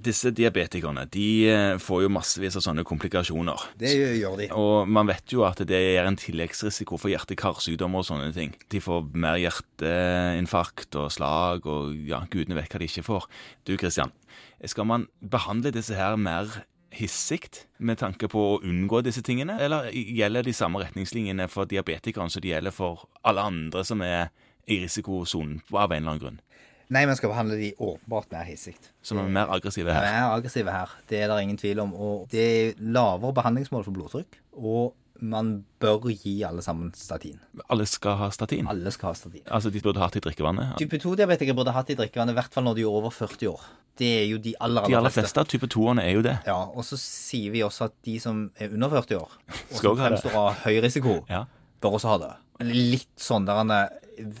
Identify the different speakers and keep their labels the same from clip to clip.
Speaker 1: disse diabetikerne de eh, får jo massevis av sånne komplikasjoner.
Speaker 2: Det gjør de.
Speaker 1: Og man vet jo at det er en tilleggsrisiko for hjerte-karsykdommer og sånne ting. De får mer hjerteinfarkt og slag og ja, gudene vet hva de ikke får. Du Kristian, skal man behandle disse her mer hissigt med tanke på å unngå disse tingene, eller gjelder de samme retningslinjene for diabetikeren som de gjelder for alle andre som er i risikosonen av en eller annen grunn?
Speaker 2: Nei, man skal behandle de åpenbart mer hissig.
Speaker 1: Som er mer aggressive
Speaker 2: Vi
Speaker 1: her.
Speaker 2: er aggressive her, det er det ingen tvil om. Og det er lavere behandlingsmål for blodtrykk. Og man bør gi alle sammen statin.
Speaker 1: Alle skal ha statin.
Speaker 2: Alle skal ha statin.
Speaker 1: Altså, de burde hatt i drikkevannet.
Speaker 2: Type 2-diabetikere burde hatt i drikkevannet, i hvert fall når de er over 40 år. Det er jo de aller,
Speaker 1: De aller fleste av type 2-erne er jo det.
Speaker 2: Ja, og så sier vi også at de som er under 40 år, og
Speaker 1: Skal også ha
Speaker 2: som
Speaker 1: det.
Speaker 2: fremstår av høy risiko,
Speaker 1: Ja.
Speaker 2: bør også ha det. Litt sånn der han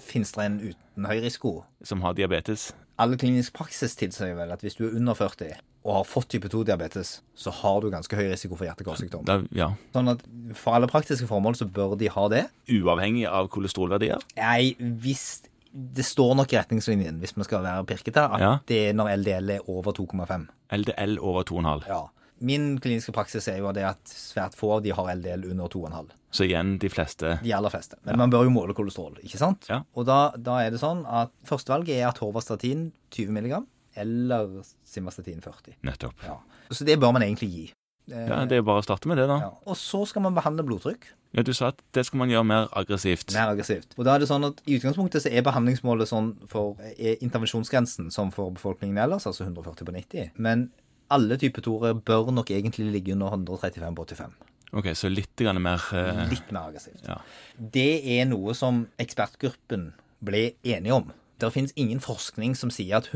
Speaker 2: Fins det en uten høy risiko?
Speaker 1: Som har diabetes.
Speaker 2: All klinisk praksis tilsier vel at hvis du er under 40 og har fått type 2-diabetes, så har du ganske høy risiko for hjerte-karsykdom.
Speaker 1: Da, ja.
Speaker 2: Sånn at for alle praktiske formål så bør de ha det.
Speaker 1: uavhengig av kolesterolverdier.
Speaker 2: Nei, hvis Det står nok i retningslinjen, hvis vi skal være pirkete, at
Speaker 1: Ja.
Speaker 2: det er når LDL er over 2,5.
Speaker 1: LDL over 2,5.
Speaker 2: Ja. Min kliniske praksis er jo det at svært få av de har LDL under 2,5.
Speaker 1: Så igjen de fleste
Speaker 2: De aller fleste. Men man bør jo måle kolesterol, ikke sant?
Speaker 1: Ja.
Speaker 2: Og da, da er det sånn at førstevalget er atorvastatin 20 mg eller simvastatin 40.
Speaker 1: Nettopp.
Speaker 2: Ja. Så det bør man egentlig gi. Eh,
Speaker 1: Ja, Det er bare å starte med det, da.
Speaker 2: ja. Og så skal man behandle blodtrykk
Speaker 1: Ja, Du sa at det skal man gjøre mer aggressivt.
Speaker 2: mer aggressivt. Og da er det sånn at i utgangspunktet så er behandlingsmålet sånn for er intervensjonsgrensen som for befolkningen ellers, altså 140 på 90. Men alle typer toere bør nok egentlig ligge under 135 på 85.
Speaker 1: Ok, Så litt grann mer eh,
Speaker 2: Litt mer aggressivt.
Speaker 1: Ja.
Speaker 2: Det er noe som ekspertgruppen ble enige om. Det finnes ingen forskning som sier at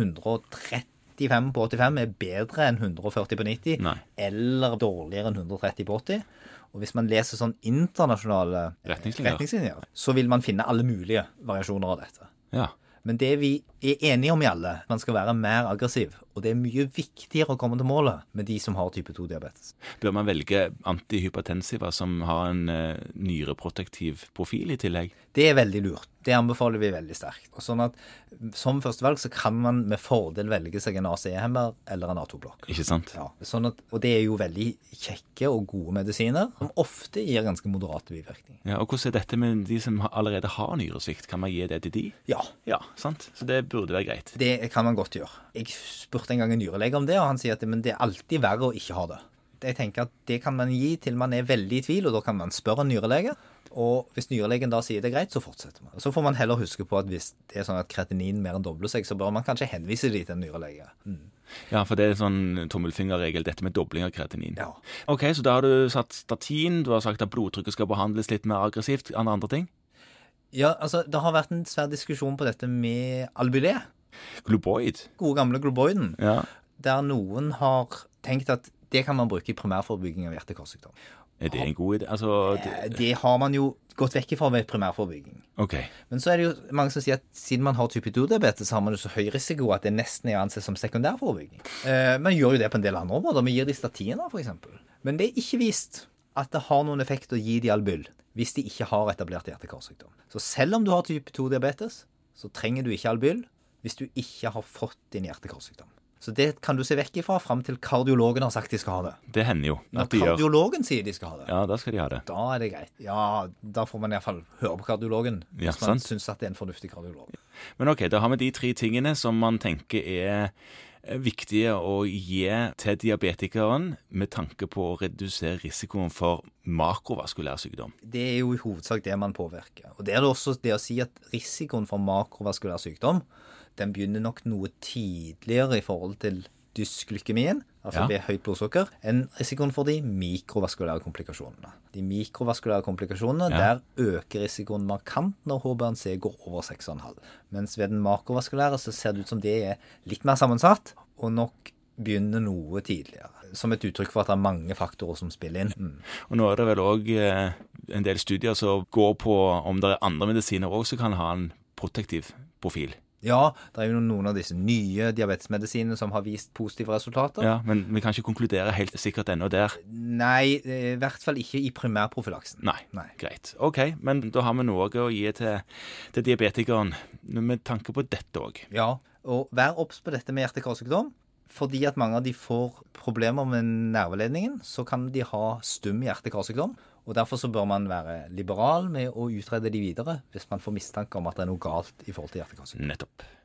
Speaker 2: 135 på 85 er bedre enn 140 på 90,
Speaker 1: Nei.
Speaker 2: eller dårligere enn 130 på 80. Og hvis man leser sånn internasjonale eh,
Speaker 1: Retningslinjer.
Speaker 2: retningslinjer, så vil man finne alle mulige variasjoner av dette.
Speaker 1: Ja.
Speaker 2: Men det vi er enige om i alle, man skal være mer aggressiv. Og det er mye viktigere å komme til målet med de som har type 2-diabetes.
Speaker 1: Bør man velge antihypertensiva som har en eh, nyreprotektiv profil i tillegg?
Speaker 2: Det er veldig lurt. Det anbefaler vi veldig sterkt. Og Sånn at som førstevalg så kan man med fordel velge seg en ACE-hemmer eller en A2-blokk.
Speaker 1: Ikke sant?
Speaker 2: Ja, sånn at, og det er jo veldig kjekke og gode medisiner, som ofte gir ganske moderate bivirkninger.
Speaker 1: Ja, og Hvordan er dette med de som ha- allerede har nyresvikt? Kan man gi det til de?
Speaker 2: Ja,
Speaker 1: Ja, sant? Så det burde være greit.
Speaker 2: det kan man godt gjøre. Jeg spurte en gang en nyrelege om det, og han sier at men det er alltid verre å ikke ha det. Jeg tenker at det kan man gi til man er veldig i tvil, og da kan man spørre en nyrelege. Og hvis nyrelegen da sier det er greit, så fortsetter man. Så får man heller huske på at hvis det er sånn at kretinin mer enn dobler seg, så bør man kanskje henvise de til en nyrelege.
Speaker 1: Ja, for det er sånn tommelfingerregel, dette med dobling av kreatinin.
Speaker 2: Ja.
Speaker 1: Ok, så da har du satt statin, du har sagt at blodtrykket skal behandles litt mer aggressivt, andre, andre ting.
Speaker 2: Ja, altså, Det har vært en svær diskusjon på dette med albulé.
Speaker 1: Globoid.
Speaker 2: Gode gamle globoiden.
Speaker 1: Ja.
Speaker 2: Der noen har tenkt at det kan man bruke i primærforebygging av hjerte-karsykdom.
Speaker 1: Er det en god idé? Altså,
Speaker 2: Eh,
Speaker 1: det,
Speaker 2: Det har man jo gått vekk ifra ved primærforebygging.
Speaker 1: ok.
Speaker 2: Men så er det jo mange som sier at siden man har type 2-diabetes, så har man jo så høy risiko at det nesten er å anse som sekundærforebygging. Eh, man gjør jo det på en del andre områder. Vi gir de statiner, f.eks. Men det er ikke vist at det har noen effekt å gi de albyl hvis de ikke har etablert hjerte-karsykdom. Så selv om du har type 2-diabetes, så trenger du ikke albyl hvis du ikke har fått din hjerte-karsykdom. Så det kan du se vekk ifra fram til kardiologen har sagt de skal ha det.
Speaker 1: Det hender jo
Speaker 2: Når
Speaker 1: at de gjør.
Speaker 2: kardiologen sier de skal ha det,
Speaker 1: Ja, da skal de ha det.
Speaker 2: da er det greit. Ja, da får man iallfall høre på kardiologen.
Speaker 1: Ja,
Speaker 2: hvis man
Speaker 1: sant.
Speaker 2: syns at det er en fornuftig kardiolog.
Speaker 1: Men ok, da har vi de tre tingene som man tenker er eh, viktige å gi til diabetikeren med tanke på å redusere risikoen for makrovaskulær sykdom.
Speaker 2: Det er jo i hovedsak det man påvirker. Og det er det også det å si at risikoen for makrovaskulær sykdom, den begynner nok noe tidligere i forhold til dysglykemien, altså
Speaker 1: Ja.
Speaker 2: ved høyt blodsukker, enn risikoen for de mikrovaskulære komplikasjonene. De mikrovaskulære komplikasjonene,
Speaker 1: Ja.
Speaker 2: der øker risikoen markant når HbA1c går over 6,5. Mens ved den makrovaskulære så ser det ut som det er litt mer sammensatt, og nok begynner noe tidligere. Som et uttrykk for at det er mange faktorer som spiller inn. Mm.
Speaker 1: Og nå er det vel òg en del studier som går på om det er andre medisiner òg som kan ha en protektiv profil.
Speaker 2: Ja, det er jo noen av disse nye diabetesmedisinene som har vist positive resultater.
Speaker 1: Ja, Men vi kan ikke konkludere helt sikkert ennå der.
Speaker 2: Nei, eh, i hvert fall ikke i primærprofilaksen.
Speaker 1: Nei.
Speaker 2: Nei.
Speaker 1: Greit. OK, men da har vi noe å gi til, til diabetikeren med tanke på dette òg.
Speaker 2: Ja, og vær obs på dette med hjerte-karsykdom. fordi at mange av de får problemer med nerveledningen, så kan de ha stum hjerte-karsykdom. Og derfor så bør man være liberal med å utrede de videre hvis man får mistanke om at det er noe galt i forhold til hjerte-karsykdom.
Speaker 1: Nettopp.